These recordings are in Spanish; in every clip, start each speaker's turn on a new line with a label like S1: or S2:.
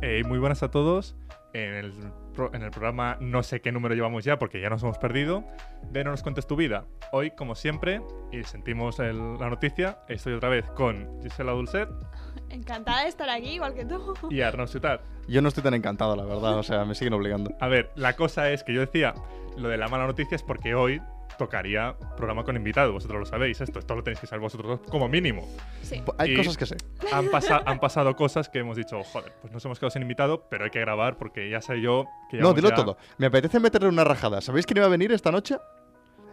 S1: Eh, muy buenas a todos. En el, pro- en el programa no sé qué número llevamos ya porque ya nos hemos perdido. De No nos cuentes tu vida. Hoy, como siempre, y sentimos el- la noticia, estoy otra vez con Gisela Dulcet
S2: Encantada de estar aquí, igual que tú.
S1: y Arnaud Ciutat.
S3: Yo no estoy tan encantado, la verdad. O sea, me siguen obligando.
S1: A ver, la cosa es que yo decía lo de la mala noticia es porque hoy tocaría programa con invitados. Vosotros lo sabéis, esto, esto lo tenéis que saber vosotros dos como mínimo.
S2: Sí.
S3: Po- Hay
S1: Y-
S3: cosas que sé.
S1: han, pasa- han pasado cosas que hemos dicho, joder, pues nos hemos quedado sin invitado, pero hay que grabar porque ya sé yo que
S3: No,
S1: llevamos
S3: dilo
S1: ya-
S3: todo. Me apetece meterle una rajada. ¿Sabéis quién iba a venir esta noche?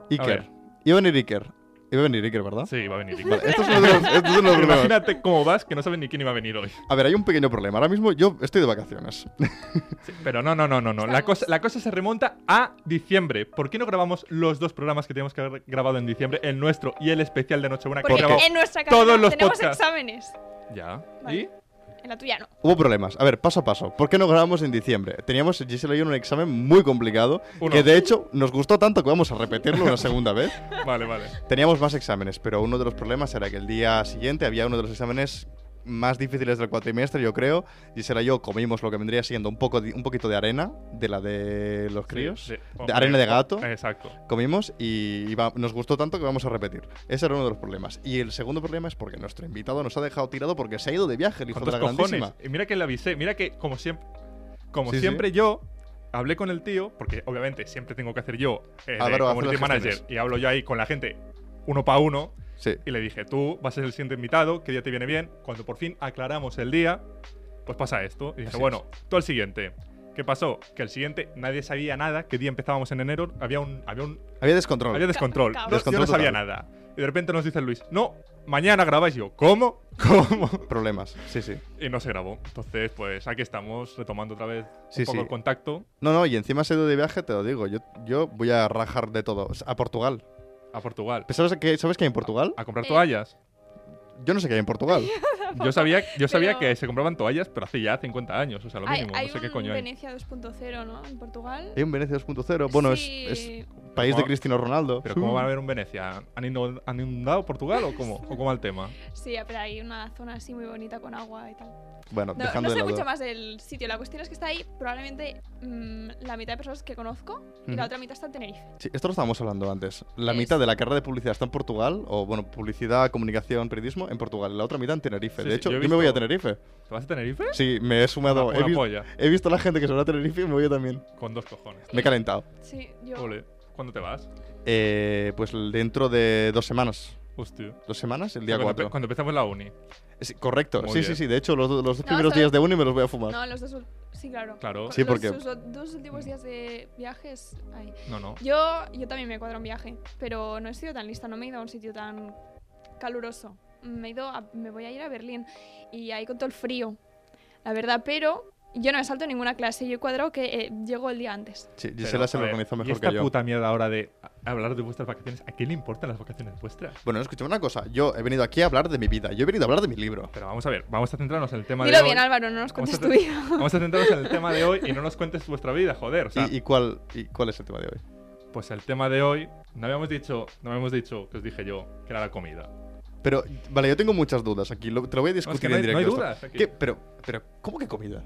S1: ver.
S3: Iker. Iba a venir Iker. Iba a venir Iker, ¿verdad?
S1: Sí, va a venir.
S3: Vale, esto es uno de los, esto es uno de los problemas.
S1: Imagínate cómo vas que no sabes ni quién iba a venir hoy.
S3: A ver, hay un pequeño problema. Ahora mismo yo estoy de vacaciones.
S1: Sí, pero no, no, no, no, no. La cosa, la cosa se remonta a diciembre. ¿Por qué no grabamos los dos programas que teníamos que haber grabado en diciembre? El nuestro y el especial de Nochebuena que
S2: Porque
S1: grabó-
S2: en nuestra
S1: todos
S2: carrera
S1: los
S2: tenemos
S1: podcasts.
S2: exámenes.
S1: Ya.
S2: Vale.
S1: ¿Y?
S2: En la tuya no.
S3: Hubo problemas. A ver, paso a paso. ¿Por qué no grabamos en diciembre? Teníamos Gisela y yo un examen muy complicado
S1: Uno.
S3: que de hecho nos gustó tanto que vamos a repetirlo una segunda vez.
S1: Vale, vale.
S3: Teníamos más exámenes, pero uno de los problemas era que el día siguiente había uno de los exámenes más difíciles del cuatrimestre, yo creo. Gisela y yo comimos lo que vendría siendo un, poco, di- un poquito de arena, de la de los críos.
S1: Sí, sí.
S3: De arena de gato.
S1: Exacto.
S3: Comimos y, y va- nos gustó tanto que vamos a repetir. Ese era uno de los problemas. Y el segundo problema es porque nuestro invitado nos ha dejado tirado porque se ha ido de viaje, el hijo
S1: Con
S3: de
S1: dos
S3: la
S1: cojones.
S3: grandísima.
S1: Y mira que le avisé. Mira que, como siempre, como
S3: Sí, sí.
S1: siempre yo hablé con el tío, porque obviamente siempre tengo que hacer yo el
S3: Álvaro hace
S1: community
S3: las
S1: manager
S3: gestiones.
S1: y hablo yo ahí con la gente uno para uno.
S3: Sí.
S1: Y le dije, tú vas a ser el siguiente invitado, que ya te viene bien. Cuando por fin aclaramos el día, pues pasa esto. Y dije,
S3: Así
S1: bueno, tú al siguiente. ¿Qué pasó? Que el siguiente nadie sabía nada, qué día empezábamos en enero, había un, había un
S3: Había descontrol.
S1: había descontrol.
S2: Ca-
S1: Yo-
S3: caos.
S1: yo no sabía
S3: Descontrol
S1: nada. Y de repente nos dice Luis, no, mañana grabáis Y yo. ¿Cómo? ¿Cómo?
S3: Problemas. Sí, sí.
S1: Y no se grabó. Entonces, pues aquí estamos retomando otra vez un
S3: Sí,
S1: poco
S3: sí.
S1: el contacto
S3: No, no, y encima se ha ido de viaje, te lo digo. Yo, yo voy a rajar de todo. A Portugal.
S1: a Portugal.
S3: ¿Sabes qué, ¿Sabes qué hay en Portugal?
S1: A comprar
S2: Eh.
S1: toallas.
S3: Yo no sé qué hay en Portugal.
S1: Yo sabía, yo sabía
S2: Pero-
S1: que se compraban toallas, pero hace ya 50 años, o sea, lo
S2: hay
S1: mínimo.
S2: hay
S1: no sé
S2: un
S1: qué coño hay.
S2: Venecia 2.0, ¿no? En Portugal.
S3: Hay un Venecia 2.0. Bueno, es-
S2: Sí.
S3: es, país de Cristiano Ronaldo. Mm.
S1: ¿Pero
S3: Sí.
S1: cómo van a haber un Venecia? ¿Han inundado, han inundado Portugal o cómo? ¿O cómo va el tema?
S2: Sí, pero hay una zona así muy bonita con agua y tal.
S3: Bueno,
S2: No,
S3: dejando
S2: no
S3: de
S2: sé
S3: lado.
S2: mucho más del sitio. La cuestión es que está ahí probablemente mm, la mitad de personas que conozco y
S3: Ujú.
S2: la otra mitad está en Tenerife.
S3: Sí, esto lo estábamos hablando antes. La
S2: Es-
S3: mitad de la carrera de publicidad está en Portugal, o bueno, publicidad, comunicación, periodismo, en Portugal. y La otra mitad en Tenerife.
S1: Sí,
S3: de
S1: sí,
S3: hecho,
S1: yo
S3: yo,
S1: he
S3: me voy a
S1: visto-
S3: Tenerife.
S1: ¿Te vas a Tenerife? Ah,
S3: Sí, me he sumado.
S1: Una-
S3: he,
S1: una
S3: vis-
S1: polla.
S3: he visto a la gente que se va a Tenerife y me voy yo también.
S1: Con dos cojones.
S3: Me he calentado.
S2: Sí, yo.
S1: Ole. ¿Cuándo te vas?
S3: Eh, pues l- dentro de dos semanas.
S1: Hostia.
S3: ¿Dos semanas? El
S1: O sea,
S3: día
S1: cuando,
S3: 4.
S1: empe- cuando empezamos la uni.
S3: correcto.
S1: Muy
S3: Sí,
S1: bien.
S3: sí, sí. De hecho, los, do- los dos
S2: No,
S3: primeros
S2: solo-
S3: días de uni me los voy a fumar.
S2: No, los dos. ul- Sí, claro.
S1: Claro.
S2: Con
S3: Sí,
S2: los-
S3: porque-
S2: sus do- dos últimos días de viajes. Ahí.
S1: No, no.
S2: Yo, yo también me cuadro un viaje, pero no he sido tan lista, no me he ido a un sitio tan caluroso. Me, he ido a- me voy a ir a Berlín y ahí con todo el frío, la verdad, pero yo no me salto ninguna clase, yo he cuadrado que eh, llego el día antes.
S3: Sí,
S1: Pero,
S3: Gisela se
S1: a
S3: lo
S1: ver,
S3: organizó
S1: ¿y
S3: mejor
S1: esta
S3: que yo.
S1: puta mierda ahora de a- hablar de vuestras vacaciones. ¿A quién le importan las vacaciones vuestras?
S3: Bueno, escucha una cosa. Yo he venido aquí a hablar de mi vida. Yo he venido a hablar de mi libro.
S1: Pero vamos a ver, vamos a centrarnos en el tema de
S2: Dilo
S1: hoy.
S2: bien, Álvaro, no nos
S1: Vamos a
S2: cuentes tu
S1: hacer-
S2: vida.
S1: Vamos a centrarnos en el tema de hoy y no nos cuentes vuestra vida, joder. O sea,
S3: ¿Y, y cuál, ¿Y cuál es el tema de hoy?
S1: Pues el tema de hoy, no habíamos dicho, no habíamos dicho que os dije yo que era la comida.
S3: Pero, vale, yo tengo muchas dudas aquí. lo- te lo voy a
S1: No, es que
S3: discutir
S1: no
S3: en
S1: hay- no
S3: directo.
S1: hay
S3: esto.
S1: dudas aquí.
S3: ¿Qué? Pero, pero, ¿cómo que comida?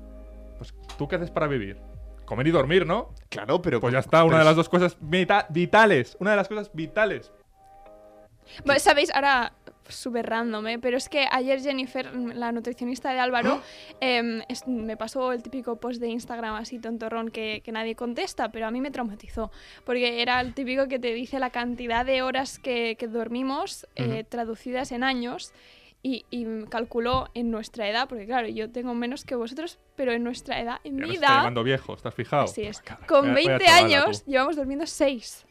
S1: Pues, ¿tú qué haces para vivir? Comer y dormir, ¿no?
S3: Claro, pero.
S1: Pues ya está, una
S3: pero
S1: de las
S3: es-
S1: dos cosas vita- vitales. Una de las cosas vitales.
S2: Bueno, Sabéis, ahora súper random, ¿eh? pero es que ayer Jennifer, la nutricionista de Álvaro,
S1: ¿Ah?
S2: em, es- me pasó el típico post de Instagram así tontorrón que, que nadie contesta, pero a mí me traumatizó, porque era el típico que te dice la cantidad de horas que, que dormimos eh, traducidas en años. Y, y calculó en nuestra edad, porque claro, yo tengo menos que vosotros, pero en nuestra edad, en
S1: Ya
S2: mi
S1: nos está
S2: edad,
S1: llamando viejo, ¿estás fijado? Ah,
S2: Así es.
S1: Toma, cara,
S2: Con
S1: vaya- vaya
S2: 20
S1: chavala,
S2: años
S1: tú.
S2: llevamos durmiendo 6.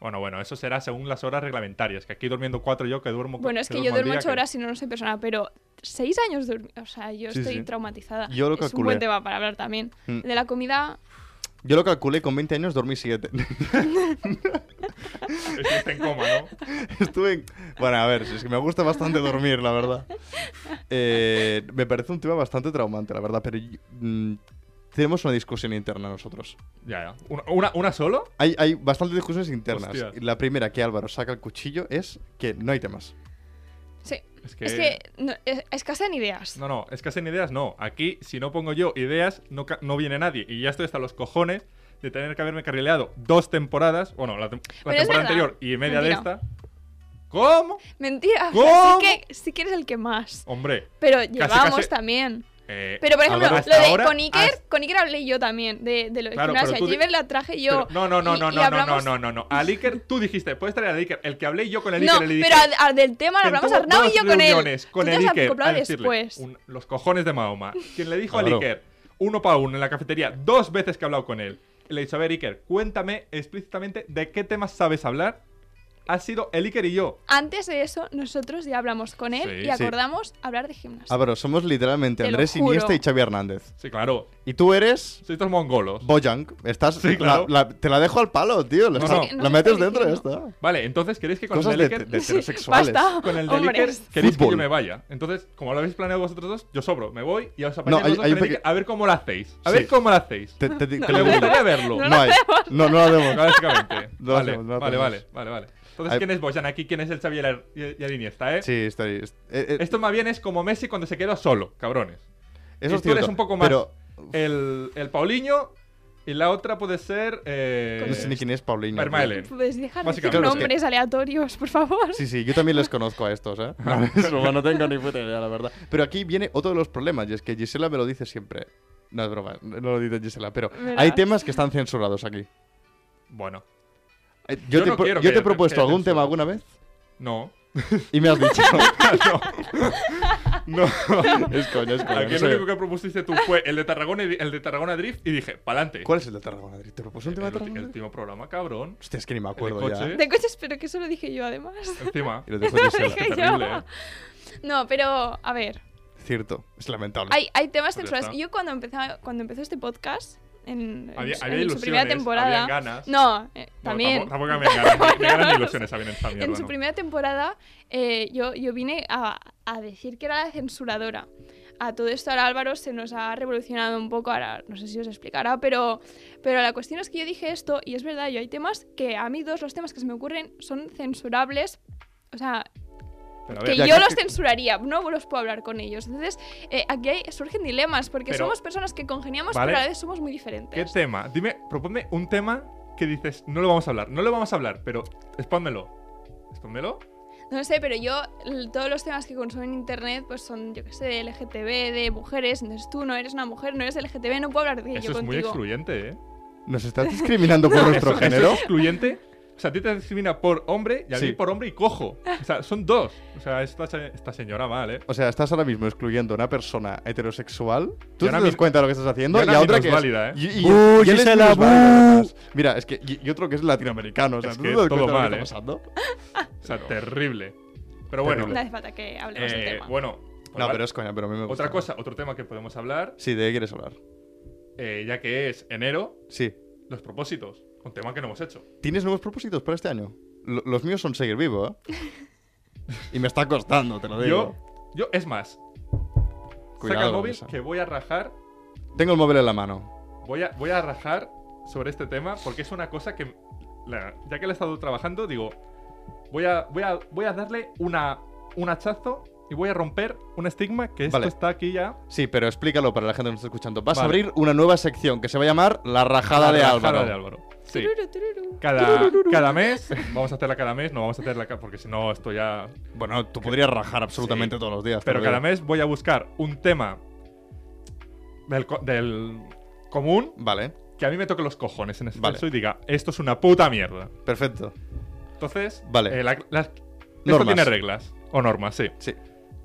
S1: Bueno, bueno, eso será según las horas reglamentarias, que aquí durmiendo cuatro yo que duermo
S2: Bueno, es que
S1: al
S2: yo duermo
S1: día,
S2: ocho horas y no, no soy persona, pero seis años durmiendo. O sea, yo
S3: Sí,
S2: estoy
S3: sí.
S2: traumatizada.
S3: Yo lo
S2: es un
S3: calculé.
S2: buen tema para hablar también.
S3: Mm.
S2: De la comida,
S3: Yo lo calculé, con 20 años dormí 7.
S1: Estuviste en coma, ¿no?
S3: Estuve en- Bueno, a ver, si es que me gusta bastante dormir, la verdad. Eh, me parece un tema bastante traumante, la verdad, pero yo- mm, tenemos una discusión interna nosotros.
S1: Ya, ya. ¿Una, una, una solo?
S3: Hay, hay bastantes discusiones internas.
S1: Hostia.
S3: La primera que Álvaro saca el cuchillo es que no hay temas.
S2: sí.
S1: Es que...
S2: Es que no, es, escasean ideas.
S1: No, no, es que hacen ideas, no. Aquí, si no pongo yo ideas, no, ca- no viene nadie. Y ya estoy hasta los cojones de tener que haberme carrileado dos temporadas. Bueno, la, tem- la
S2: Pero es
S1: temporada
S2: verdad.
S1: anterior y media de
S2: Mentira.
S1: esta. ¿Cómo?
S2: Mentira,
S1: ¿Cómo?
S2: sí que, sí que eres el que más.
S1: Hombre.
S2: Pero llevamos
S1: casi-
S2: también.
S1: eh,
S2: Pero por ejemplo,
S1: Álvaro,
S2: lo
S1: hasta
S2: de
S1: ahora
S2: con Iker,
S1: has-
S2: con Iker hablé yo también, de, de lo del
S1: Claro, pero
S2: gimnasio.
S1: tú
S2: A
S1: di-
S2: Jiver la traje yo.
S1: pero- no, no, no,
S2: y-
S1: no,
S2: y
S1: no,
S2: hablamos-
S1: no, no, no, no. Al Iker tú dijiste, puedes traer al Iker, el que hablé yo con el
S2: No,
S1: Iker. le dije,
S2: pero a- a- del tema lo
S1: quien
S2: hablamos
S1: tuvo
S2: Arnau y
S1: dos
S2: yo con él.
S1: reuniones
S2: Tú
S1: con
S2: te
S1: el
S2: has
S1: Iker,
S2: acoplado
S1: a decirle,
S2: después.
S1: un- los cojones de Mahoma. Quien le dijo al
S3: Álvaro.
S1: Iker, uno para uno en la cafetería, dos veces que he hablado con él, y le he dicho, a ver, Iker, cuéntame explícitamente de qué temas sabes hablar. Ha sido el Iker y yo.
S2: Antes de eso, nosotros ya hablamos con él
S1: Sí,
S2: y
S3: sí.
S2: acordamos hablar de gimnasio.
S3: Álvaro, somos literalmente
S2: Te lo
S3: Andrés
S2: juro.
S3: Iniesta y Xavi Hernández.
S1: Sí, claro.
S3: Y tú eres
S1: Sois dos mongolos.
S3: Bojank. Estás,
S1: Sí, claro.
S3: la- la- te la dejo al palo, tío. La,
S1: No,
S3: estás-
S1: no.
S2: No
S3: la
S2: sé
S3: metes
S2: qué
S3: dentro y ya
S2: decir,
S3: está.
S1: Vale, entonces, ¿queréis que con
S3: Cosas
S1: el
S3: de,
S1: Iker-
S3: de
S2: Sí,
S3: heterosexuales.
S2: basta.
S1: con el del Iker,
S2: Hombres.
S1: queréis que yo
S3: Fútbol.
S1: me vaya. Entonces, como lo habéis planeado vosotros dos, yo sobro, me voy y os apañáis
S3: No, hay-
S1: vosotros con
S3: hay
S1: el
S3: un
S1: Iker.
S3: peque-
S1: a ver cómo lo hacéis. A
S3: Sí.
S1: ver cómo lo hacéis.
S3: Te, te- te-
S1: Me
S3: te lo juro.
S1: gustaría verlo.
S2: No
S3: No,
S2: lo
S3: hay. No, no lo hacemos.
S1: Básicamente.
S3: No
S1: vale,
S3: hacemos, no
S1: vale,
S3: hacemos.
S1: vale, vale, vale. Entonces,
S3: Ay-
S1: ¿quién es Boyan aquí? ¿Quién es el Xavi y el- y el Iniesta, eh?
S3: Sí, estoy. est- eh, eh,
S1: Esto más bien es como Messi cuando se quedó solo, cabrones.
S3: eso es
S1: tú eres
S3: cierto,
S1: un poco más
S3: Pero
S1: El, el Paulinho y la otra puede ser... Eh,
S3: no sé ni quién es Paulinho. tío.
S1: Vermaelen.
S2: Pues dejar de decir
S1: Básicamente.
S3: Claro, es que-
S2: nombres aleatorios, por favor.
S3: Sí, sí, yo también les conozco a estos, ¿eh? No, no tengo ni puta idea, la verdad. Pero aquí viene otro de los problemas, y es que Gisela me lo dice siempre. No es broma, no lo dice Gisela, pero
S2: Verás.
S3: hay temas que están censurados aquí.
S1: Bueno,
S3: Eh,
S1: Yo
S3: Yo, te,
S1: no
S3: pro-
S1: quiero
S3: yo
S1: que-
S3: te he propuesto
S1: que
S3: algún
S1: censure.
S3: tema alguna vez
S1: no.
S3: y me has dicho.
S1: No.
S3: es coño, es coño.
S1: Aquí
S3: no
S1: el
S3: sé.
S1: único que propusiste tú fue el de Tarragona, y- el de Tarragona Drift y dije, pa'lante.
S3: ¿Cuál es el de Tarragona? Adri? ¿Te propuse un
S1: El,
S3: tema de
S1: ulti- el
S3: Tarragona?
S1: último programa, cabrón.
S3: Hostia, es que ni me
S1: El de
S3: acuerdo ya.
S1: coche,
S2: De coches, pero que eso lo dije yo además.
S1: Encima.
S3: Y lo dejó Gisela.
S2: Dije
S1: Qué
S2: yo.
S1: terrible, eh.
S2: No, pero a ver,
S3: Cierto, es lamentable.
S2: hay, hay
S1: Pues
S2: temas
S1: ya
S2: censurados.
S1: está.
S2: Yo cuando empecé, cuando empezó este podcast, en, en
S1: Había,
S2: su-
S1: había
S2: en su
S1: ilusiones,
S2: primera temporada.
S1: habían ganas.
S2: No, eh,
S1: Bueno,
S2: también.
S1: tampoco, tampoco me ganan, me ganan ilusiones también en esta mierda.
S2: en su
S1: ¿no?
S2: primera temporada eh, yo, yo vine a, a decir que era la censuradora. A todo esto ahora Álvaro se nos ha revolucionado un poco, ahora no sé si os explicará, pero, pero la cuestión es que yo dije esto y es verdad, yo hay temas que a mí dos los temas que se me ocurren son censurables, o sea,
S1: Pero a
S2: que
S1: ver,
S3: ya
S2: yo
S3: que-
S2: los
S3: que-
S2: censuraría, no los puedo hablar con ellos. Entonces, eh, aquí hay- surgen dilemas porque
S1: Pero-
S2: somos personas que congeniamos,
S1: Vale.
S2: pero a la vez somos muy
S1: ¿Qué
S2: diferentes.
S1: tema? Dime, proponme un tema que dices, no lo vamos a hablar, no lo vamos a hablar, pero expónmelo. Expónmelo.
S2: No sé, pero yo, l- todos los temas que consumo en internet, pues son, yo qué sé, de LGTB, de mujeres, entonces tú no eres una mujer, no eres LGTB, no puedo hablar de
S1: Eso
S2: ello
S1: es muy
S2: contigo.
S1: excluyente, ¿eh?
S3: ¿Nos estás discriminando por nuestro
S1: Eso-
S3: género?
S1: eso es excluyente. O sea, a ti te discrimina por hombre y a mí
S3: Sí.
S1: por hombre y cojo. O sea, son dos. O sea, esta, se- esta señora mal, ¿eh?
S3: O sea, estás ahora mismo excluyendo a una persona heterosexual. Tú te
S1: ahora
S3: das
S1: mi-
S3: cuenta de lo que estás
S1: y
S3: haciendo y,
S1: ahora
S3: a
S1: mi
S3: otra que es
S1: minusválida, ¿eh?
S3: y, y-
S4: ¡Buh,
S3: y él es
S4: Gisela,
S3: minusválido,
S4: buh!
S3: además. Mira, es que y, y otro que es latinoamericano, o sea,
S1: Es
S3: ¿tú
S1: que
S3: te das
S1: es todo
S3: cuenta de lo
S1: mal,
S3: que
S1: ¿eh?
S3: está pasando?
S1: O sea, terrible. Pero bueno.
S2: No hace falta que hablemos del
S1: eh,
S2: tema.
S1: bueno. pues
S3: No,
S1: vale.
S3: pero es coña, pero a mí me gusta.
S1: Otra cosa, otro tema que podemos hablar,
S3: Sí, ¿de qué quieres hablar?
S1: eh, ya que es enero,
S3: Sí.
S1: los propósitos. Un tema que no hemos hecho.
S3: ¿Tienes nuevos propósitos para este año? Lo- los míos son seguir vivo, ¿eh? y me está costando, te lo
S1: Yo,
S3: digo.
S1: yo, es más,
S3: Cuidado
S1: saca el
S3: con
S1: móvil
S3: eso.
S1: que voy a rajar
S3: Tengo el móvil en la mano.
S1: Voy a, voy a rajar sobre este tema porque es una cosa que, la- ya que lo he estado trabajando, digo, voy a, voy a, voy a darle una, un hachazo y voy a romper un estigma que esto
S3: Vale.
S1: está aquí ya.
S3: Sí, pero explícalo para la gente que nos está escuchando. Vas a
S1: Vale.
S3: abrir una nueva sección que se va a llamar La rajada, de,
S1: La rajada
S3: Álvaro.
S1: de Álvaro. Sí.
S2: Tururu, tururu.
S1: Cada, cada mes, vamos a hacerla cada mes, no vamos a hacerla ca- porque si no esto ya...
S3: Bueno, tú podrías rajar absolutamente todos los días. te
S1: Pero
S3: lo digo.
S1: cada mes voy a buscar un tema del, co- del común
S3: Vale,
S1: que a mí me toque los cojones en ese
S3: Vale.
S1: caso y diga, esto es una puta mierda.
S3: perfecto.
S1: Entonces,
S3: Vale.
S1: eh, la- la- esto
S3: Normas.
S1: tiene reglas o normas, sí.
S3: Sí.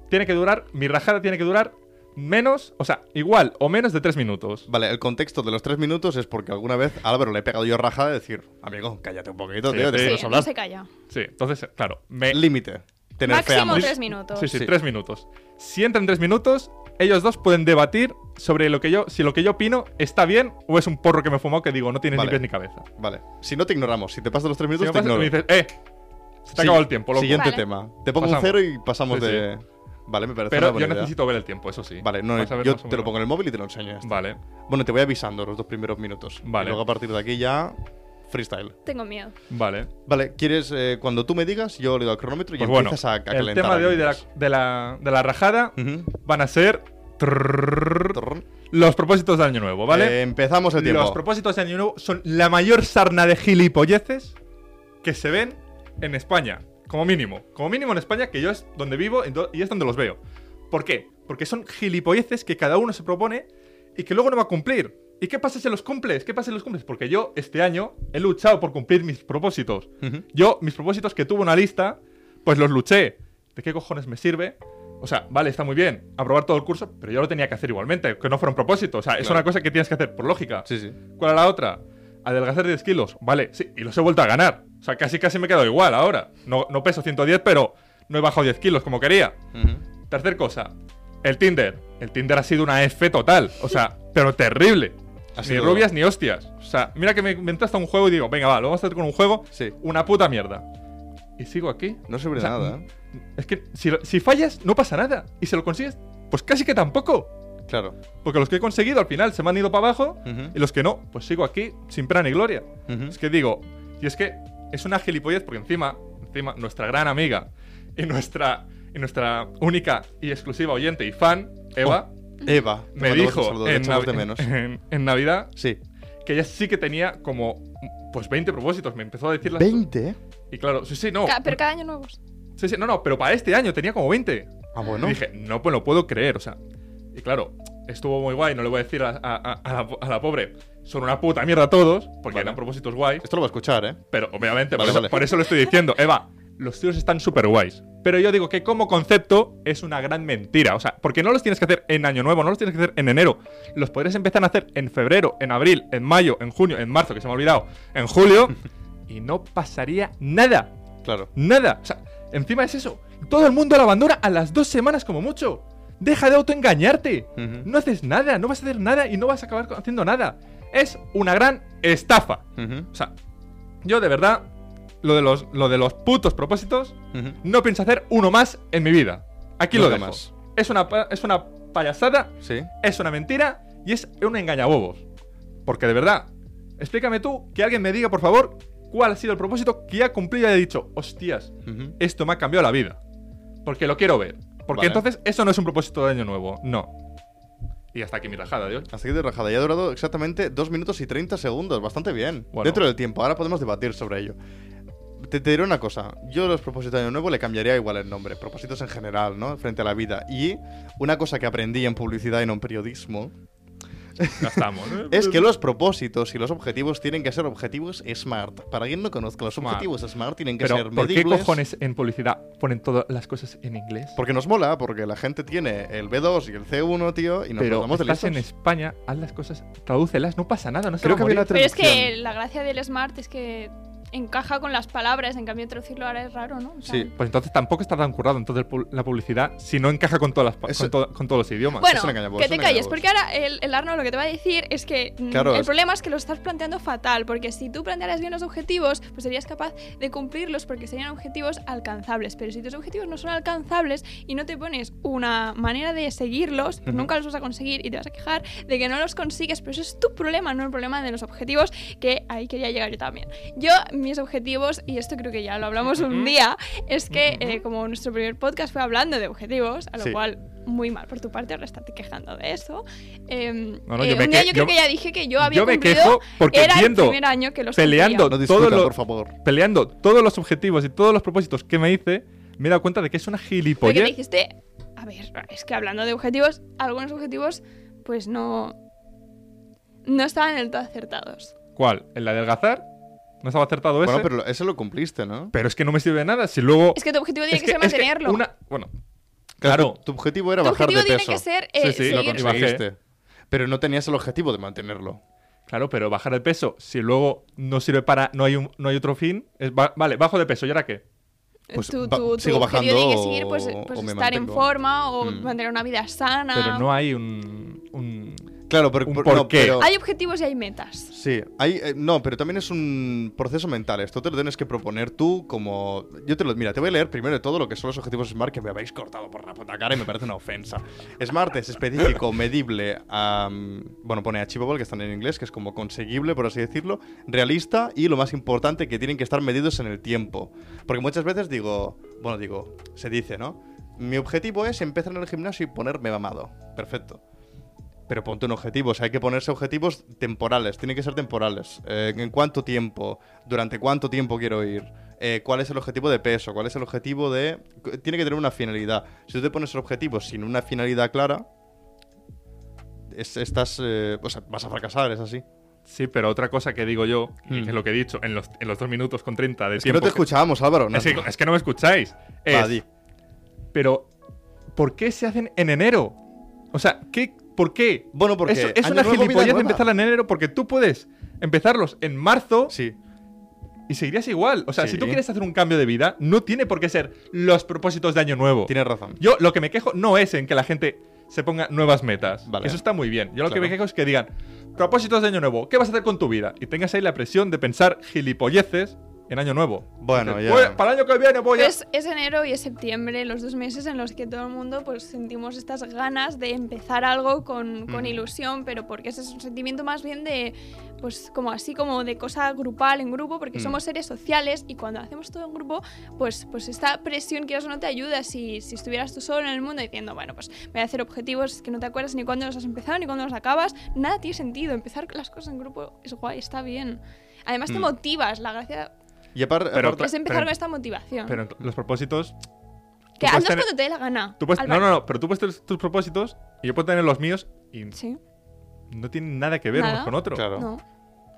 S1: Tiene que durar, mi rajada tiene que durar menos, o sea, igual o menos de tres minutos.
S3: Vale, el contexto de los tres minutos es porque alguna vez a Álvaro le he pegado yo rajada de decir, amigo, cállate un poquito,
S1: Sí,
S3: tío,
S1: sí.
S3: déjanos
S1: Sí,
S2: no
S3: hablar.
S2: se calla.
S1: Sí, entonces, claro, me,
S3: Límite. Tener
S2: Máximo
S3: feamos.
S2: tres minutos.
S1: Sí, sí,
S3: Sí.
S1: tres minutos. Si entran tres minutos, ellos dos pueden debatir sobre lo que yo, si lo que yo opino está bien o es un porro que me he fumado que digo, no tienes
S3: Vale.
S1: ni pies ni cabeza.
S3: Vale. Si no te ignoramos, si te pasas de los tres
S1: Si
S3: minutos,
S1: me
S3: te
S1: pasas,
S3: ignoro.
S1: me dices, eh, se te ha
S3: Sí,
S1: acabado el tiempo, loco.
S3: Siguiente
S2: Vale.
S3: tema. Te pongo
S1: Pasamos.
S3: un cero y pasamos
S1: Sí, sí.
S3: de. Vale, me parece una
S1: Pero yo
S3: buena idea.
S1: necesito ver el tiempo, eso sí.
S3: Vale, no,
S1: Vas a ver
S3: yo
S1: más o
S3: te lo
S1: menos.
S3: pongo en el móvil y te lo enseño. ya está.
S1: Vale.
S3: Bueno, te voy avisando los dos primeros minutos.
S1: Vale.
S3: Y luego a partir de aquí ya. Freestyle.
S2: Tengo miedo.
S1: Vale.
S3: Vale, ¿quieres. eh, cuando tú me digas, yo le doy al cronómetro y
S1: Pues bueno,
S3: empiezas a, Mm. a
S1: el
S3: calentar.
S1: tema de hoy de la,
S3: águilas.
S1: de la, de la rajada
S3: Ujú.
S1: van a ser trrrrrrr,
S3: Torrón.
S1: los propósitos de Año Nuevo, ¿vale?
S3: Eh, empezamos el tiempo.
S1: Los propósitos de Año Nuevo son la mayor sarna de gilipolleces que se ven en España, como mínimo. Como mínimo en España, que yo es donde vivo ento- y es donde los veo. ¿Por qué? Porque son gilipolleces que cada uno se propone y que luego no va a cumplir. ¿Y qué pasa si los cumples? ¿Qué pasa si los cumples? Porque yo este año he luchado por cumplir mis propósitos.
S3: Ujú.
S1: Yo, mis propósitos que tuve una lista, pues los luché. ¿De qué cojones me sirve? O sea, vale, está muy bien aprobar todo el curso, pero yo lo tenía que hacer igualmente, que no fuera un propósito. O sea, es
S3: Claro.
S1: una cosa que tienes que hacer por lógica.
S3: Sí, sí.
S1: ¿Cuál era la otra? Adelgazar 10 kilos. Vale, sí, y los he vuelto a ganar. O sea, casi casi me he quedado igual ahora. No, no peso 110, pero no he bajado 10 kilos como quería.
S3: Ujú.
S1: Tercer cosa, el Tinder. El Tinder ha sido una F total. O sea, pero terrible.
S3: Ha
S1: ni
S3: sido-
S1: rubias ni hostias. O sea, mira que me inventé hasta un juego y digo, venga, va, lo vamos a hacer con un juego.
S3: Sí.
S1: Una puta mierda. Y sigo aquí.
S3: No sirve
S1: O
S3: de
S1: sea,
S3: nada, ¿eh?
S1: Es que si, lo- si fallas, no pasa nada. Y si lo consigues, pues casi que tampoco.
S3: Claro.
S1: Porque los que he conseguido al final se me han ido para abajo
S3: Ujú.
S1: y los que no, pues sigo aquí sin pena ni gloria.
S3: Ujú.
S1: Es que digo, y es que es una gilipollez porque encima, encima nuestra gran amiga y nuestra, y nuestra única y exclusiva oyente y fan, Eva,
S3: Eva. Oh, te
S1: me
S3: mandamos un
S1: dijo
S3: saludo, te
S1: en,
S3: echamos de
S1: Navi-
S3: menos.
S1: en- en Navidad
S3: Sí.
S1: que ella sí que tenía como pues 20 propósitos. Me empezó a decir las-
S3: ¿20?
S1: Y claro, sí, sí, no.
S2: Ca- pero cada año nuevos.
S1: Sí, sí, no, no, pero para este año tenía como 20.
S3: Ah, bueno.
S1: Y dije, no pues lo puedo creer, o sea. Y claro, estuvo muy guay, no le voy a decir a, a- a la, a la pobre, son una puta mierda todos, porque
S3: Vale.
S1: eran propósitos guays,
S3: Esto lo va a escuchar, ¿eh?
S1: pero obviamente, por,
S3: Vale,
S1: eso,
S3: vale.
S1: por eso lo estoy diciendo. Eva, los tíos están súper guays. Pero yo digo que como concepto es una gran mentira. O sea, porque no los tienes que hacer en Año Nuevo, no los tienes que hacer en enero. Los podrías empezar a hacer en febrero, en abril, en mayo, en junio, en marzo, que se me ha olvidado, en julio. y no pasaría nada.
S3: Claro.
S1: Nada. O sea, encima es eso. Todo el mundo la abandona a las dos semanas como mucho. Deja de autoengañarte.
S3: Ujú.
S1: No haces nada, no vas a hacer nada y no vas a acabar co- haciendo nada. Es una gran estafa.
S3: Ujú,
S1: O sea, yo de verdad, lo de los, lo de los putos propósitos,
S3: ujú.
S1: no pienso hacer uno más en mi vida. Aquí lo
S3: Nunca
S1: dejo.
S3: más.
S1: Es una, pa- es una payasada,
S3: Sí.
S1: es una mentira y es un engañabobos. Porque de verdad, explícame tú, que alguien me diga, por favor, cuál ha sido el propósito que ha cumplido y ha dicho, hostias,
S3: Ujú.
S1: esto me ha cambiado la vida. Porque lo quiero ver. Porque
S3: Vale.
S1: entonces eso no es un propósito de año nuevo, no. Y hasta aquí mi rajada de hoy.
S3: Hasta aquí de rajada. Ya ha durado exactamente 2 minutos y 30 segundos. Bastante bien.
S1: Bueno.
S3: Dentro del tiempo. Ahora podemos debatir sobre ello. Te, te diré una cosa. Yo los propósitos de año nuevo le cambiaría igual el nombre. Propósitos en general, ¿no? Frente a la vida. Y una cosa que aprendí en publicidad y no en periodismo
S1: Ya estamos. ¿eh?
S3: es que los propósitos y los objetivos tienen que ser objetivos SMART. Para quien no conozca, los
S1: Smart.
S3: objetivos SMART tienen que ser
S1: Pero, ¿por qué
S3: medibles.
S1: cojones en publicidad ponen todas las cosas en inglés?
S3: Porque nos mola, porque la gente tiene el B2 y el C1, tío, y nos
S1: Pero
S3: pasamos de
S1: estás en
S3: listos.
S1: España, haz las cosas, tradúcelas, no pasa nada, no se
S3: Creo
S1: va
S3: que
S1: a
S3: había una
S1: morir.
S2: Pero es
S3: traducción.
S2: que la gracia del smart es que encaja con las palabras, en cambio traducirlo ahora es raro, ¿no? O sea,
S3: Sí.
S1: Pues entonces tampoco está tan currado entonces pu- la publicidad si no encaja con todas las pa-
S3: Eso-
S1: con, to- con todos los idiomas.
S2: Bueno,
S3: es un engañabobos,
S2: que
S3: es un
S2: te calles,
S3: engañabobos.
S2: porque ahora el, el Arno lo que te va a decir es que mm,
S3: Claro,
S2: el
S3: es-
S2: problema es que lo estás planteando fatal, porque si tú plantearas bien los objetivos, pues serías capaz de cumplirlos porque serían objetivos alcanzables, pero si tus objetivos no son alcanzables y no te pones una manera de seguirlos, pues
S3: Ujú.
S2: nunca los vas a conseguir y te vas a quejar de que no los consigues, pero eso es tu problema, no el problema de los objetivos, que ahí quería llegar yo también. Yo, mis objetivos, y esto creo que ya lo hablamos
S1: Ujú.
S2: un día, es que
S1: Ujú.
S2: eh, como nuestro primer podcast fue hablando de objetivos, a lo
S3: Sí.
S2: cual muy mal por tu parte ahora estarte quejando de eso. Em,
S1: No, no,
S2: eh,
S1: yo me
S2: un día
S1: que-
S2: yo creo
S1: yo-
S2: que ya dije que yo había
S1: yo me
S2: cumplido,
S1: quejo porque
S2: era el
S1: viendo,
S2: primer año que los
S1: peleando
S3: No
S2: cumplía.
S3: discutan,
S1: Todo lo-
S3: por favor.
S1: peleando todos los objetivos y todos los propósitos que me hice, me he dado cuenta de que es una
S2: Porque
S1: gilipollez.
S2: me dijiste, a ver, es que hablando de objetivos, algunos objetivos pues no no estaban del todo acertados.
S1: ¿Cuál? ¿El de adelgazar? ¿No estaba acertado ese?
S3: Bueno,
S1: pero...
S3: pero lo- eso lo cumpliste, ¿no?
S1: es que no me sirve de nada si luego...
S2: Es que tu objetivo tiene
S1: es
S2: que,
S1: es
S2: ser mantenerlo.
S1: una- Bueno,
S3: Claro, tu, tu objetivo era
S2: Tu
S3: bajar
S2: objetivo
S3: de
S2: tiene
S3: peso.
S2: que ser eh,
S1: Sí, sí, lo
S3: Lo
S2: seguir-
S1: Y bajé.
S3: conseguiste. Pero no tenías el objetivo de mantenerlo.
S1: Claro, pero bajar de peso, si luego no sirve para, no hay, un, no hay otro fin, es ba- vale, bajo de peso, ¿y ahora qué?
S3: Pues
S2: tu,
S3: va-
S2: tu- tu
S3: sigo
S2: objetivo
S3: bajando
S2: tiene que seguir pues,
S3: o-
S2: pues
S3: o me
S2: estar
S3: mantengo.
S2: en forma o
S3: Mm.
S2: mantener una vida sana.
S1: Pero no hay un... un-
S3: Claro, pero
S1: Un
S3: por-
S1: por
S3: no,
S1: qué.
S3: pero-
S2: Hay objetivos y hay metas.
S3: Sí, hay, eh, no, pero también es un proceso mental. Esto te lo tienes que proponer tú como... Yo te lo... Mira, te voy a leer primero de todo lo que son los objetivos SMART que me habéis cortado por la puta cara y me parece una ofensa. SMART es específico, medible, am, bueno, pone achievable, que están en inglés, que es como conseguible, por así decirlo, realista y lo más importante, que tienen que estar medidos en el tiempo. Porque muchas veces digo, bueno, digo, se dice, ¿no? Mi objetivo es empezar en el gimnasio y ponerme mamado. Perfecto. Pero ponte un objetivo, o sea, hay que ponerse objetivos temporales, tienen que ser temporales. Eh, ¿En cuánto tiempo? ¿Durante cuánto tiempo quiero ir? Eh, ¿Cuál es el objetivo de peso? ¿Cuál es el objetivo de...? Tiene que tener una finalidad. Si tú te pones objetivos sin una finalidad clara, es- estás... eh, o sea, vas a fracasar, es así.
S1: Sí, pero otra cosa que digo yo, y
S3: Hmm.
S1: que es lo que he dicho, en los, en los 2 minutos con 30 de
S3: Es que
S1: tiempo...
S3: no te escuchábamos, Álvaro. no.
S1: Es que, es que no me escucháis. Es,
S3: Va, di.
S1: Pero, ¿por qué se hacen en enero? O sea, ¿qué, ¿por qué?
S3: Bueno, porque
S1: Eso- es
S3: año
S1: una
S3: nuevo, vida
S1: gilipollez
S3: nueva.
S1: empezarla en enero porque tú puedes empezarlos en marzo
S3: Sí.
S1: y seguirías igual. O sea,
S3: Sí.
S1: si tú quieres hacer un cambio de vida, no tiene por qué ser los propósitos de año nuevo.
S3: Tienes razón.
S1: Yo lo que me quejo no es en que la gente se ponga nuevas metas.
S3: Vale.
S1: Eso está muy bien. Yo lo que
S3: Claro.
S1: me quejo es que digan, propósitos de año nuevo, ¿qué vas a hacer con tu vida? Y tengas ahí la presión de pensar gilipolleces en año nuevo.
S3: Bueno,
S1: Dices,
S3: ya.
S1: "Voy- Para el año que viene voy a...
S2: Pues Es, es enero y es septiembre, los dos meses en los que todo el mundo pues, sentimos estas ganas de empezar algo con, con
S3: Mm.
S2: ilusión, pero porque ese es un sentimiento más bien de, pues como así, como de cosa grupal en grupo, porque
S3: Mm.
S2: somos seres sociales y cuando hacemos todo en grupo, pues, pues esta presión que eso no te ayuda. Si, si estuvieras tú solo en el mundo diciendo, bueno, pues voy a hacer objetivos que no te acuerdas ni cuándo los has empezado ni cuándo los acabas, nada tiene sentido. Empezar las cosas en grupo es guay, está bien. Además te
S3: Mm.
S2: motivas, la gracia
S3: Y apar-
S1: Pero
S3: aparte...
S1: Otra-
S2: es empezar
S1: pero-
S2: con esta motivación.
S1: Pero ent- los propósitos...
S2: Que
S1: tú puedes
S2: andas
S1: tener-
S2: cuando te dé la gana.
S1: tú puedes- No,
S2: Álvaro.
S1: no, no, pero tú puedes tener tus propósitos y yo puedo tener los míos y
S2: Sí,
S1: no tienen nada que ver unos
S2: Nada.
S1: con otros.
S3: Claro.
S2: no.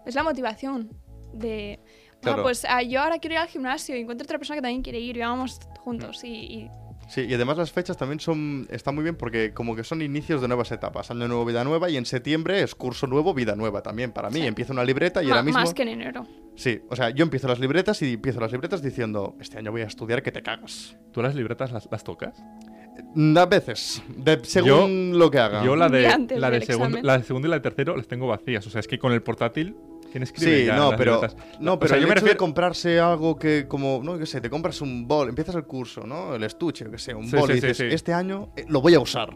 S2: Es la motivación de. "Ah,
S3: Claro.
S2: pues ah, yo ahora quiero ir al gimnasio y encuentro otra persona que también quiere ir y vamos juntos. Y, y-
S3: Sí, y además las fechas también son están muy bien porque como que son inicios de nuevas etapas, año nuevo, vida nueva y en septiembre es curso nuevo, vida nueva también para mí.
S2: Sí.
S3: Empiezo una libreta Ah, y
S2: ma-
S3: ahora mismo
S2: Más que en enero.
S3: Sí, o sea, yo empiezo las libretas y empiezo las libretas diciendo, este año voy a estudiar que te cagas.
S1: ¿Tú las libretas las, las tocas?
S3: Mm, A veces, de- según lo que haga.
S1: Yo la de,
S2: Y antes
S1: la de,
S2: del
S1: segundo,
S2: examen.
S1: la de segundo y la de tercero las tengo vacías. O sea, es que con el portátil tienes que
S3: Sí, no, pero, no, pero el hecho de comprarse algo que como, no, yo sé, te compras un bol, empiezas el curso, ¿no? El estuche, yo qué sé, un
S1: Sí,
S3: bol
S1: sí,
S3: y
S1: sí,
S3: dices,
S1: sí.
S3: este año eh, lo voy a usar.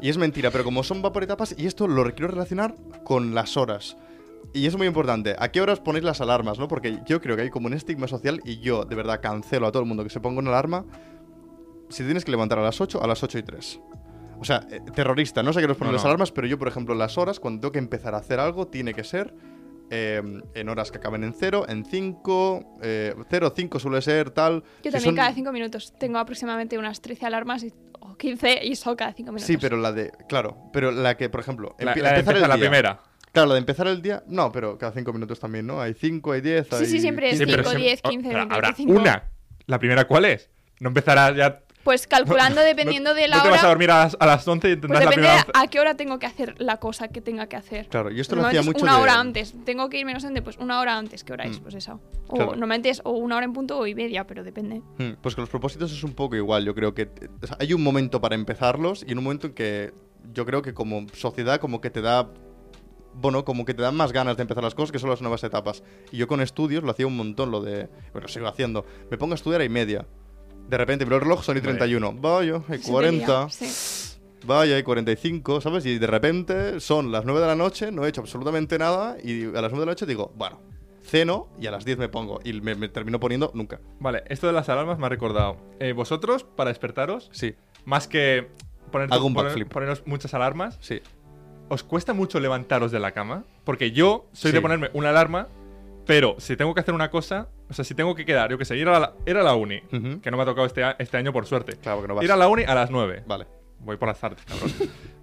S3: y es mentira, pero como son va por etapas, y esto lo quiero relacionar con las horas. Y es muy importante, ¿a qué horas ponéis las alarmas, no? Porque yo creo que hay como un estigma social y yo, de verdad, cancelo a todo el mundo que se ponga una alarma si te tienes que levantar a las 8, a las 8 y 3. O sea, eh, terrorista, no sé qué nos ponen
S1: No,
S3: las
S1: no.
S3: alarmas, pero yo, por ejemplo, las horas, cuando tengo que empezar a hacer algo, tiene que ser eh, en horas que acaben en 0, en 5, 0, 5 suele ser tal.
S2: Yo
S3: Si
S2: también
S3: son-
S2: cada cinco minutos tengo aproximadamente unas 13 alarmas y- o 15 y eso cada cinco minutos.
S3: Sí, pero la de, claro, pero la que, por ejemplo,
S1: La,
S3: empie-
S1: la, de
S3: empezar el
S1: empezar la
S3: día.
S1: primera.
S3: Claro, la de empezar el día, no, pero cada 5 minutos también, ¿no? Hay 5, hay 10,
S2: Sí, sí, siempre es
S1: Sí, pero
S2: 5,
S1: siempre-
S2: 10,
S1: oh,
S2: 15,
S1: claro,
S2: 20,
S1: habrá
S2: 25.
S1: una. ¿La primera cuál es? No empezarás ya.
S2: Pues calculando dependiendo
S1: no,
S2: de la
S1: no te
S2: hora.
S1: vas a dormir a las, a las 11 y
S2: Pues
S1: tendrás la
S2: depende
S1: primera.
S2: de a qué hora tengo que hacer la cosa que tenga que hacer.
S3: Claro, yo esto lo
S2: Normalmente
S3: hacía
S2: es
S3: mucho
S2: una
S3: de-
S2: hora antes. Tengo que ir menos antes, pues una hora antes. ¿Qué hora es?
S3: Mm.
S2: Pues esa. O
S3: Claro.
S2: normalmente es o una hora en punto o y media, pero depende.
S3: Hmm, Pues con los propósitos es un poco igual. Yo creo que eh, o sea, hay un momento para empezarlos y un momento en que yo creo que como sociedad como que te da bueno, como que te dan más ganas de empezar las cosas que son las nuevas etapas. Y yo con estudios lo hacía un montón, lo de, bueno, sigo haciendo. Me pongo a estudiar a y media. De repente veo el reloj, son y
S1: Hombre.
S3: 31. Vaya, hay
S2: Se te lía,
S3: 40.
S2: sí.
S3: Vaya, hay 45, ¿sabes? Y de repente son las 9 de la noche, no he hecho absolutamente nada y a las 9 de la noche digo, bueno, ceno y a las 10 me pongo. Y me, me termino poniendo nunca.
S1: Vale, esto de las alarmas me ha recordado. Eh, vosotros, para despertaros,
S3: Sí,
S1: más que poner,
S3: Hago un
S1: poner-
S3: backflip.
S1: poneros muchas alarmas,
S3: sí.
S1: ¿os cuesta mucho levantaros de la cama? Porque yo soy de
S3: Sí.
S1: ponerme una alarma, pero si tengo que hacer una cosa, o sea, si tengo que quedar, yo qué sé, ir a la, ir a la uni,
S3: Ujú.
S1: que no me ha tocado este, a- este año por suerte.
S3: Claro que no vas.
S1: Ir a la uni a las 9.
S3: Vale,
S1: Voy por las tardes, cabrón.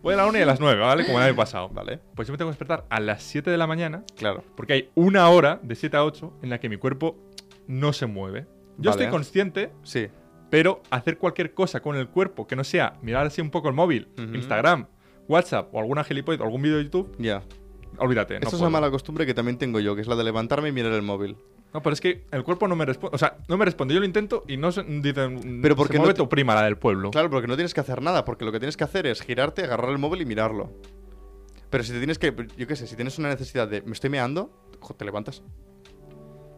S1: Voy a la uni a las 9, ¿vale? Como el año pasado.
S3: vale,
S1: Pues yo me tengo que despertar a las 7 de la mañana
S3: claro.
S1: porque hay una hora de 7 a 8 en la que mi cuerpo no se mueve. Yo
S3: Vale.
S1: estoy consciente,
S3: Sí,
S1: Pero hacer cualquier cosa con el cuerpo que no sea mirar así un poco el móvil,
S3: Ujú.
S1: Instagram, WhatsApp o alguna gilipollas, algún vídeo de YouTube,
S3: Ya.
S1: olvídate.
S3: Esta
S1: no
S3: es una
S1: puedo.
S3: mala costumbre que también tengo yo, que es la de levantarme y mirar el móvil.
S1: No, pero es que el cuerpo no me responde. O sea, no me responde. Yo lo intento y no se, dicen.
S3: Pero porque
S1: se
S3: no
S1: mueve
S3: te-
S1: tu prima, la del pueblo.
S3: Claro, porque no tienes que hacer nada, porque lo que tienes que hacer es girarte, agarrar el móvil y mirarlo. Pero si te tienes que, yo qué sé, si tienes una necesidad de, me estoy meando, jo, te levantas.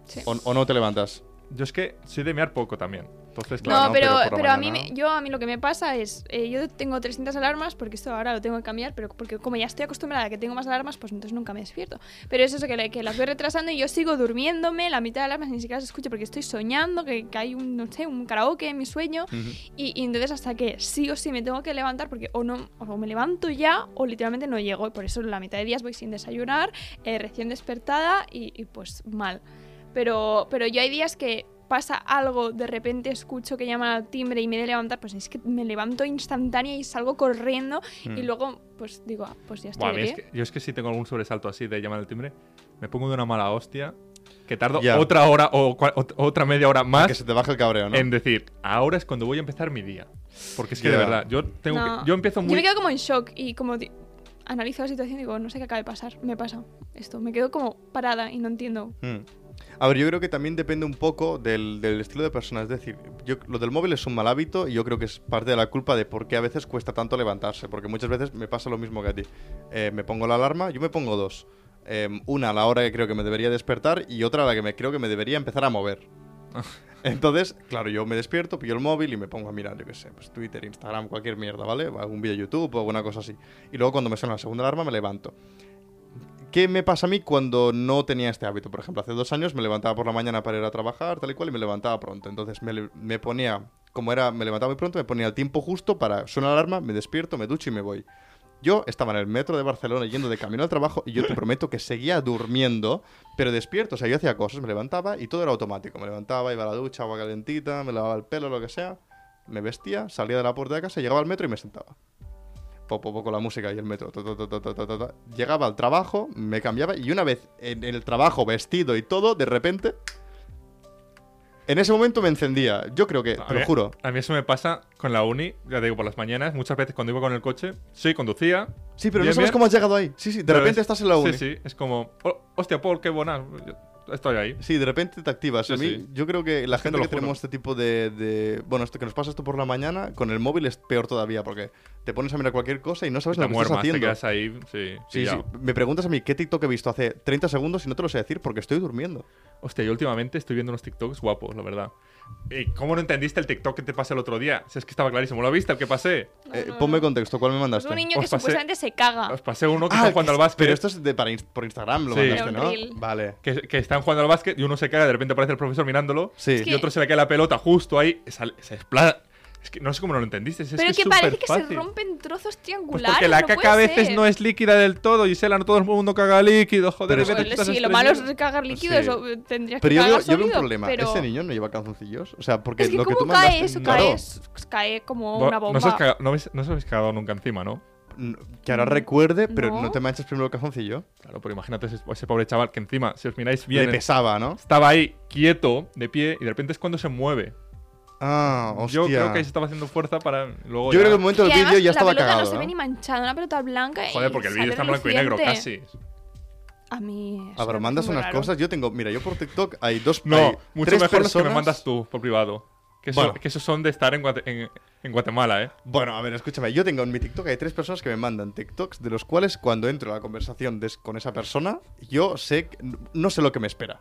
S2: Sí.
S3: O, o no te levantas.
S1: Yo es que soy de mear poco también. Entonces,
S3: Claro,
S2: no,
S3: ¿no?
S2: pero,
S3: Pero por la
S2: pero, a mí
S3: mañana.
S2: me- yo a mí lo que me pasa es eh, yo tengo 300 alarmas porque esto ahora lo tengo que cambiar, pero porque como ya estoy acostumbrada a que tengo más alarmas, pues entonces nunca me despierto. Pero es eso que, le- que las voy retrasando y yo sigo durmiéndome, la mitad de alarmas ni siquiera se escucha porque estoy soñando que, que hay un no sé, un karaoke en mi sueño y, y entonces hasta que sí o sí me tengo que levantar porque o no o me levanto ya o literalmente no llego y por eso la mitad de días voy sin desayunar, eh, recién despertada y, y, pues mal. Pero, pero yo hay días que pasa algo, de repente escucho que llaman al timbre y me he de levantar, pues es que me levanto instantánea y salgo corriendo y luego pues digo, ah, pues ya estoy
S1: Mm. Buah, a
S2: de
S1: mí es
S2: pie.
S1: que- yo es que si tengo algún sobresalto así de llamar al timbre, me pongo de una mala hostia que tardo
S3: Ya.
S1: otra hora o cua- ot- otra media hora
S3: Que
S1: más
S3: se te baja el cabreo, ¿no?
S1: en decir, ahora es cuando voy a empezar mi día. Porque es que
S3: Ya.
S1: de verdad, yo tengo
S2: No.
S1: que- yo empiezo
S2: Yo me
S1: muy
S2: quedo como en shock y como di- analizo la situación y digo, no sé qué acaba de pasar, me pasa esto, me quedo como parada y no entiendo.
S3: Mm. A ver, yo creo que también depende un poco del, del estilo de persona. Es decir, yo, lo del móvil es un mal hábito y yo creo que es parte de la culpa de por qué a veces cuesta tanto levantarse. Porque muchas veces me pasa lo mismo que a ti. Eh, me pongo la alarma, yo me pongo dos. Em, una a la hora que creo que me debería despertar y otra a la que me creo que me debería empezar a mover. Entonces, claro, yo me despierto, pillo el móvil y me pongo a mirar, yo qué sé, pues Twitter, Instagram, cualquier mierda, ¿vale? Algún vídeo de YouTube o alguna cosa así. Y luego cuando me suena la segunda alarma me levanto. ¿Qué me pasa a mí cuando no tenía este hábito? Por ejemplo, hace dos años me levantaba por la mañana para ir a trabajar, tal y cual, y me levantaba pronto. Entonces me, le- me ponía, como era, me levantaba muy pronto, me ponía el tiempo justo para, suena la alarma, me despierto, me ducho y me voy. Yo estaba en el metro de Barcelona yendo de camino al trabajo y yo te prometo que seguía durmiendo, pero despierto. O sea, yo hacía cosas, me levantaba y todo era automático. Me levantaba, iba a la ducha, agua calentita, me lavaba el pelo, lo que sea. Me vestía, salía de la puerta de casa, llegaba al metro y me sentaba poco a poco la música y el metro. ta, ta, ta, ta, ta, ta, ta, ta. Llegaba al trabajo, me cambiaba y una vez en el trabajo, vestido y todo, de repente... En ese momento me encendía. Yo creo que,
S1: A
S3: te lo
S1: mí-
S3: juro.
S1: A mí eso me pasa con la uni, ya digo, por las mañanas, muchas veces cuando iba con el coche, sí, conducía.
S3: Sí, pero
S1: bien,
S3: no sabes
S1: bien,
S3: cómo has llegado ahí. Sí, sí, de
S1: pero
S3: repente
S1: es-
S3: estás en la uni.
S1: Sí, sí, es como, "Oh, hostia, Paul, qué buena, yo estoy ahí.
S3: Sí, de repente te activas.
S1: Sí,
S3: a mí,
S1: sí.
S3: yo creo que la
S1: Es que
S3: gente
S1: te lo
S3: que
S1: juro.
S3: tenemos este tipo de, de- Bueno, esto que nos pasa esto por la mañana, con el móvil es peor todavía, porque te pones a mirar cualquier cosa y no sabes
S1: Te
S3: lo que estás
S1: muermas, te
S3: haciendo.
S1: quedas ahí, sí.
S3: Sí, sí.
S1: pillado.
S3: Me preguntas a mí qué TikTok he visto hace 30 segundos y no te lo sé decir porque estoy durmiendo.
S1: Hostia, yo últimamente estoy viendo unos TikToks guapos, la verdad. ¿Y cómo no entendiste el TikTok que te pasé el otro día? Si es que estaba clarísimo, ¿lo viste el que pasé?
S2: No,
S3: Eh,
S2: no, no.
S3: ponme contexto, ¿cuál me
S2: Es
S3: mandaste?
S2: un niño
S1: Os
S2: que
S1: pasé-
S2: supuestamente se caga.
S1: Os Pues pasé uno que
S3: Ah,
S1: están jugando
S3: que-
S1: al básquet.
S3: Pero esto es de, para ins- por Instagram lo
S1: Sí.
S3: mandaste,
S2: Era un reel.
S3: ¿no? Vale.
S1: que, que están jugando al básquet y uno se cae, de repente aparece el profesor mirándolo.
S3: Sí.
S2: Es
S1: Y
S2: que-
S1: otro se le cae la pelota justo ahí, sale- se desplada. Es que no sé cómo no lo entendiste. Es
S2: pero
S1: es
S2: que, parece
S1: súper
S2: que se
S1: fácil.
S2: rompen trozos
S1: Pues
S2: triangulares.
S1: porque la
S2: no
S1: caca
S2: puede
S1: a veces
S2: ser.
S1: no es líquida del todo, Gisela, no todo el mundo caga líquido, joder.
S3: Pero
S1: vete
S2: Bueno,
S1: tú estás
S2: sí, lo malo
S1: estreñido.
S2: es cagar líquidos,
S3: Sí.
S2: o, eh, tendrías
S3: Pero
S2: que
S3: yo
S2: cagar
S3: veo, yo veo un
S2: sólido,
S3: problema.
S2: pero-
S3: ¿Ese niño no lleva calzoncillos? O sea, porque
S2: Es que
S3: lo que
S2: cómo
S3: tú
S2: cae
S3: mandaste...
S2: eso,
S1: Claro.
S2: cae, s- cae como
S1: Bo-
S2: una bomba.
S1: No os, has caga- no habéis- no os habéis cagado nunca encima, ¿no?
S3: N- Que ahora recuerde, pero
S2: No.
S3: no, te manches primero el calzoncillo.
S1: Claro, pero imagínate ese, ese pobre chaval que encima, si os miráis bien,
S3: Le pesaba, ¿no?
S1: estaba ahí quieto, de pie, y de repente es cuando se mueve.
S3: Ah, hostia.
S1: Yo creo que ahí se estaba haciendo fuerza para luego. ya-
S3: Yo creo que en el momento
S2: Y
S3: del vídeo
S2: además
S3: ya estaba
S2: la pelota
S3: cagado, ¿eh?
S2: no se ve
S3: ¿no?
S2: ni manchada, una pelota blanca.
S1: Joder,
S2: y
S1: porque el
S2: sale
S1: vídeo está en blanco y negro
S2: reluciente.
S1: casi.
S2: A mí.
S3: Ah,
S2: eso
S3: pero
S2: me
S3: mandas
S2: parece muy
S3: unas
S2: raro.
S3: cosas. Yo tengo... Mira, yo por TikTok hay dos...
S1: No,
S3: hay
S1: mucho
S3: tres
S1: mejor
S3: personas...
S1: los que me mandas tú por privado. Que, eso-
S3: Bueno.
S1: que esos son de estar en, Guate- en- en Guatemala, ¿eh?
S3: Bueno, a ver, escúchame. Yo tengo en mi TikTok hay tres personas que me mandan TikToks, de los cuales cuando entro a la conversación des- con esa persona, yo sé, que- no sé lo que me espera.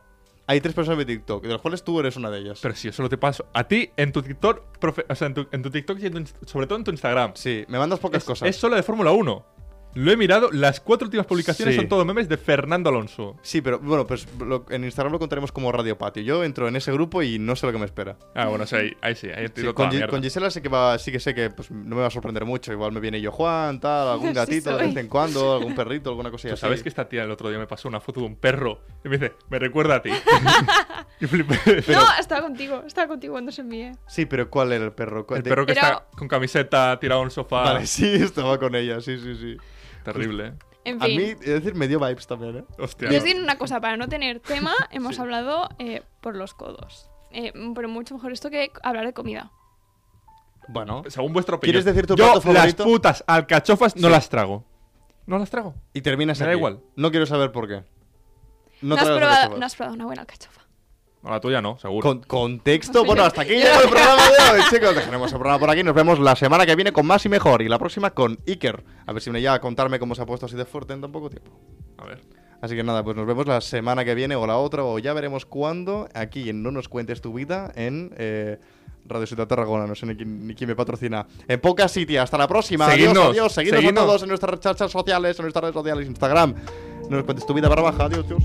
S3: Hay tres personas en mi TikTok, de los cuales tú eres una de ellas.
S1: Pero si yo solo te paso. A ti, en tu TikTok, profe- o sea, en tu, en tu TikTok y en tu inst- sobre todo en tu Instagram.
S3: Sí, me mandas pocas
S1: es,
S3: cosas.
S1: es solo de Fórmula 1. Lo he mirado, las cuatro últimas publicaciones
S3: Sí.
S1: son todos memes de Fernando Alonso.
S3: Sí, pero bueno, pues lo- en Instagram lo contaremos como Radio Patio. Yo entro en ese grupo y no sé lo que me espera.
S1: Ah, bueno, sí, ahí, ahí sí, ahí he
S3: Sí,
S1: tirado toda
S3: con,
S1: la
S3: Gi-
S1: mierda.
S3: con Gisela sí que, va, sí que sé que pues, no me va a sorprender mucho. Igual me viene yo Juan, tal, algún
S2: Sí
S3: gatito de
S2: soy.
S3: vez en cuando, algún perrito, alguna cosilla
S1: Tú
S3: así.
S1: sabes que esta tía el otro día me pasó una foto de un perro y me dice, me recuerda a ti. y flipé.
S2: No, estaba contigo, estaba contigo cuando se envié.
S3: Sí, pero ¿cuál era el perro? ¿Cuál-
S1: El
S3: de-
S1: perro que
S2: Era-
S1: está con camiseta tirado en un sofá.
S3: Vale, sí, estaba con ella, sí, sí, sí.
S1: Terrible. ¿eh?
S2: En
S3: A mí,
S2: fin.
S3: es decir, me dio vibes también, ¿eh?
S1: Hostia.
S2: Yo
S1: no.
S2: os diré una cosa, para no tener tema, hemos hablado eh, por los codos. Eh, pero mucho mejor esto que hablar de comida.
S3: Bueno.
S1: Según vuestro opinión.
S3: ¿Quieres decir tu
S1: Yo
S3: plato favorito?
S1: las putas alcachofas no
S3: Sí.
S1: las trago. No las trago.
S3: Y terminas
S1: Me da
S3: aquí.
S1: igual.
S3: No quiero saber por qué.
S2: No, has
S3: tragas
S2: probado,
S3: alcachofa.
S2: no has probado una buena alcachofa.
S1: No, la tuya no, seguro.
S3: Con contexto,
S2: Sí.
S3: bueno, hasta aquí llegó el programa de hoy, chicos. Dejaremos el programa por aquí. Nos vemos la semana que viene con más y mejor. Y la próxima con Iker. A ver si me llega a contarme cómo se ha puesto así de fuerte en tan poco tiempo.
S1: A ver.
S3: Así que nada, pues nos vemos la semana que viene o la otra, o ya veremos cuándo, aquí en No Nos Cuentes Tu Vida, en eh, Radio Ciudad Tarragona. No sé ni, quién- ni quién me patrocina. En Pocas City, hasta la próxima.
S1: Seguidnos,
S3: adiós, adiós. Seguidnos,
S1: seguidnos.
S3: a todos en nuestras redes sociales, en nuestras redes sociales, Instagram. No nos cuentes tu vida para baja. Adiós, adiós.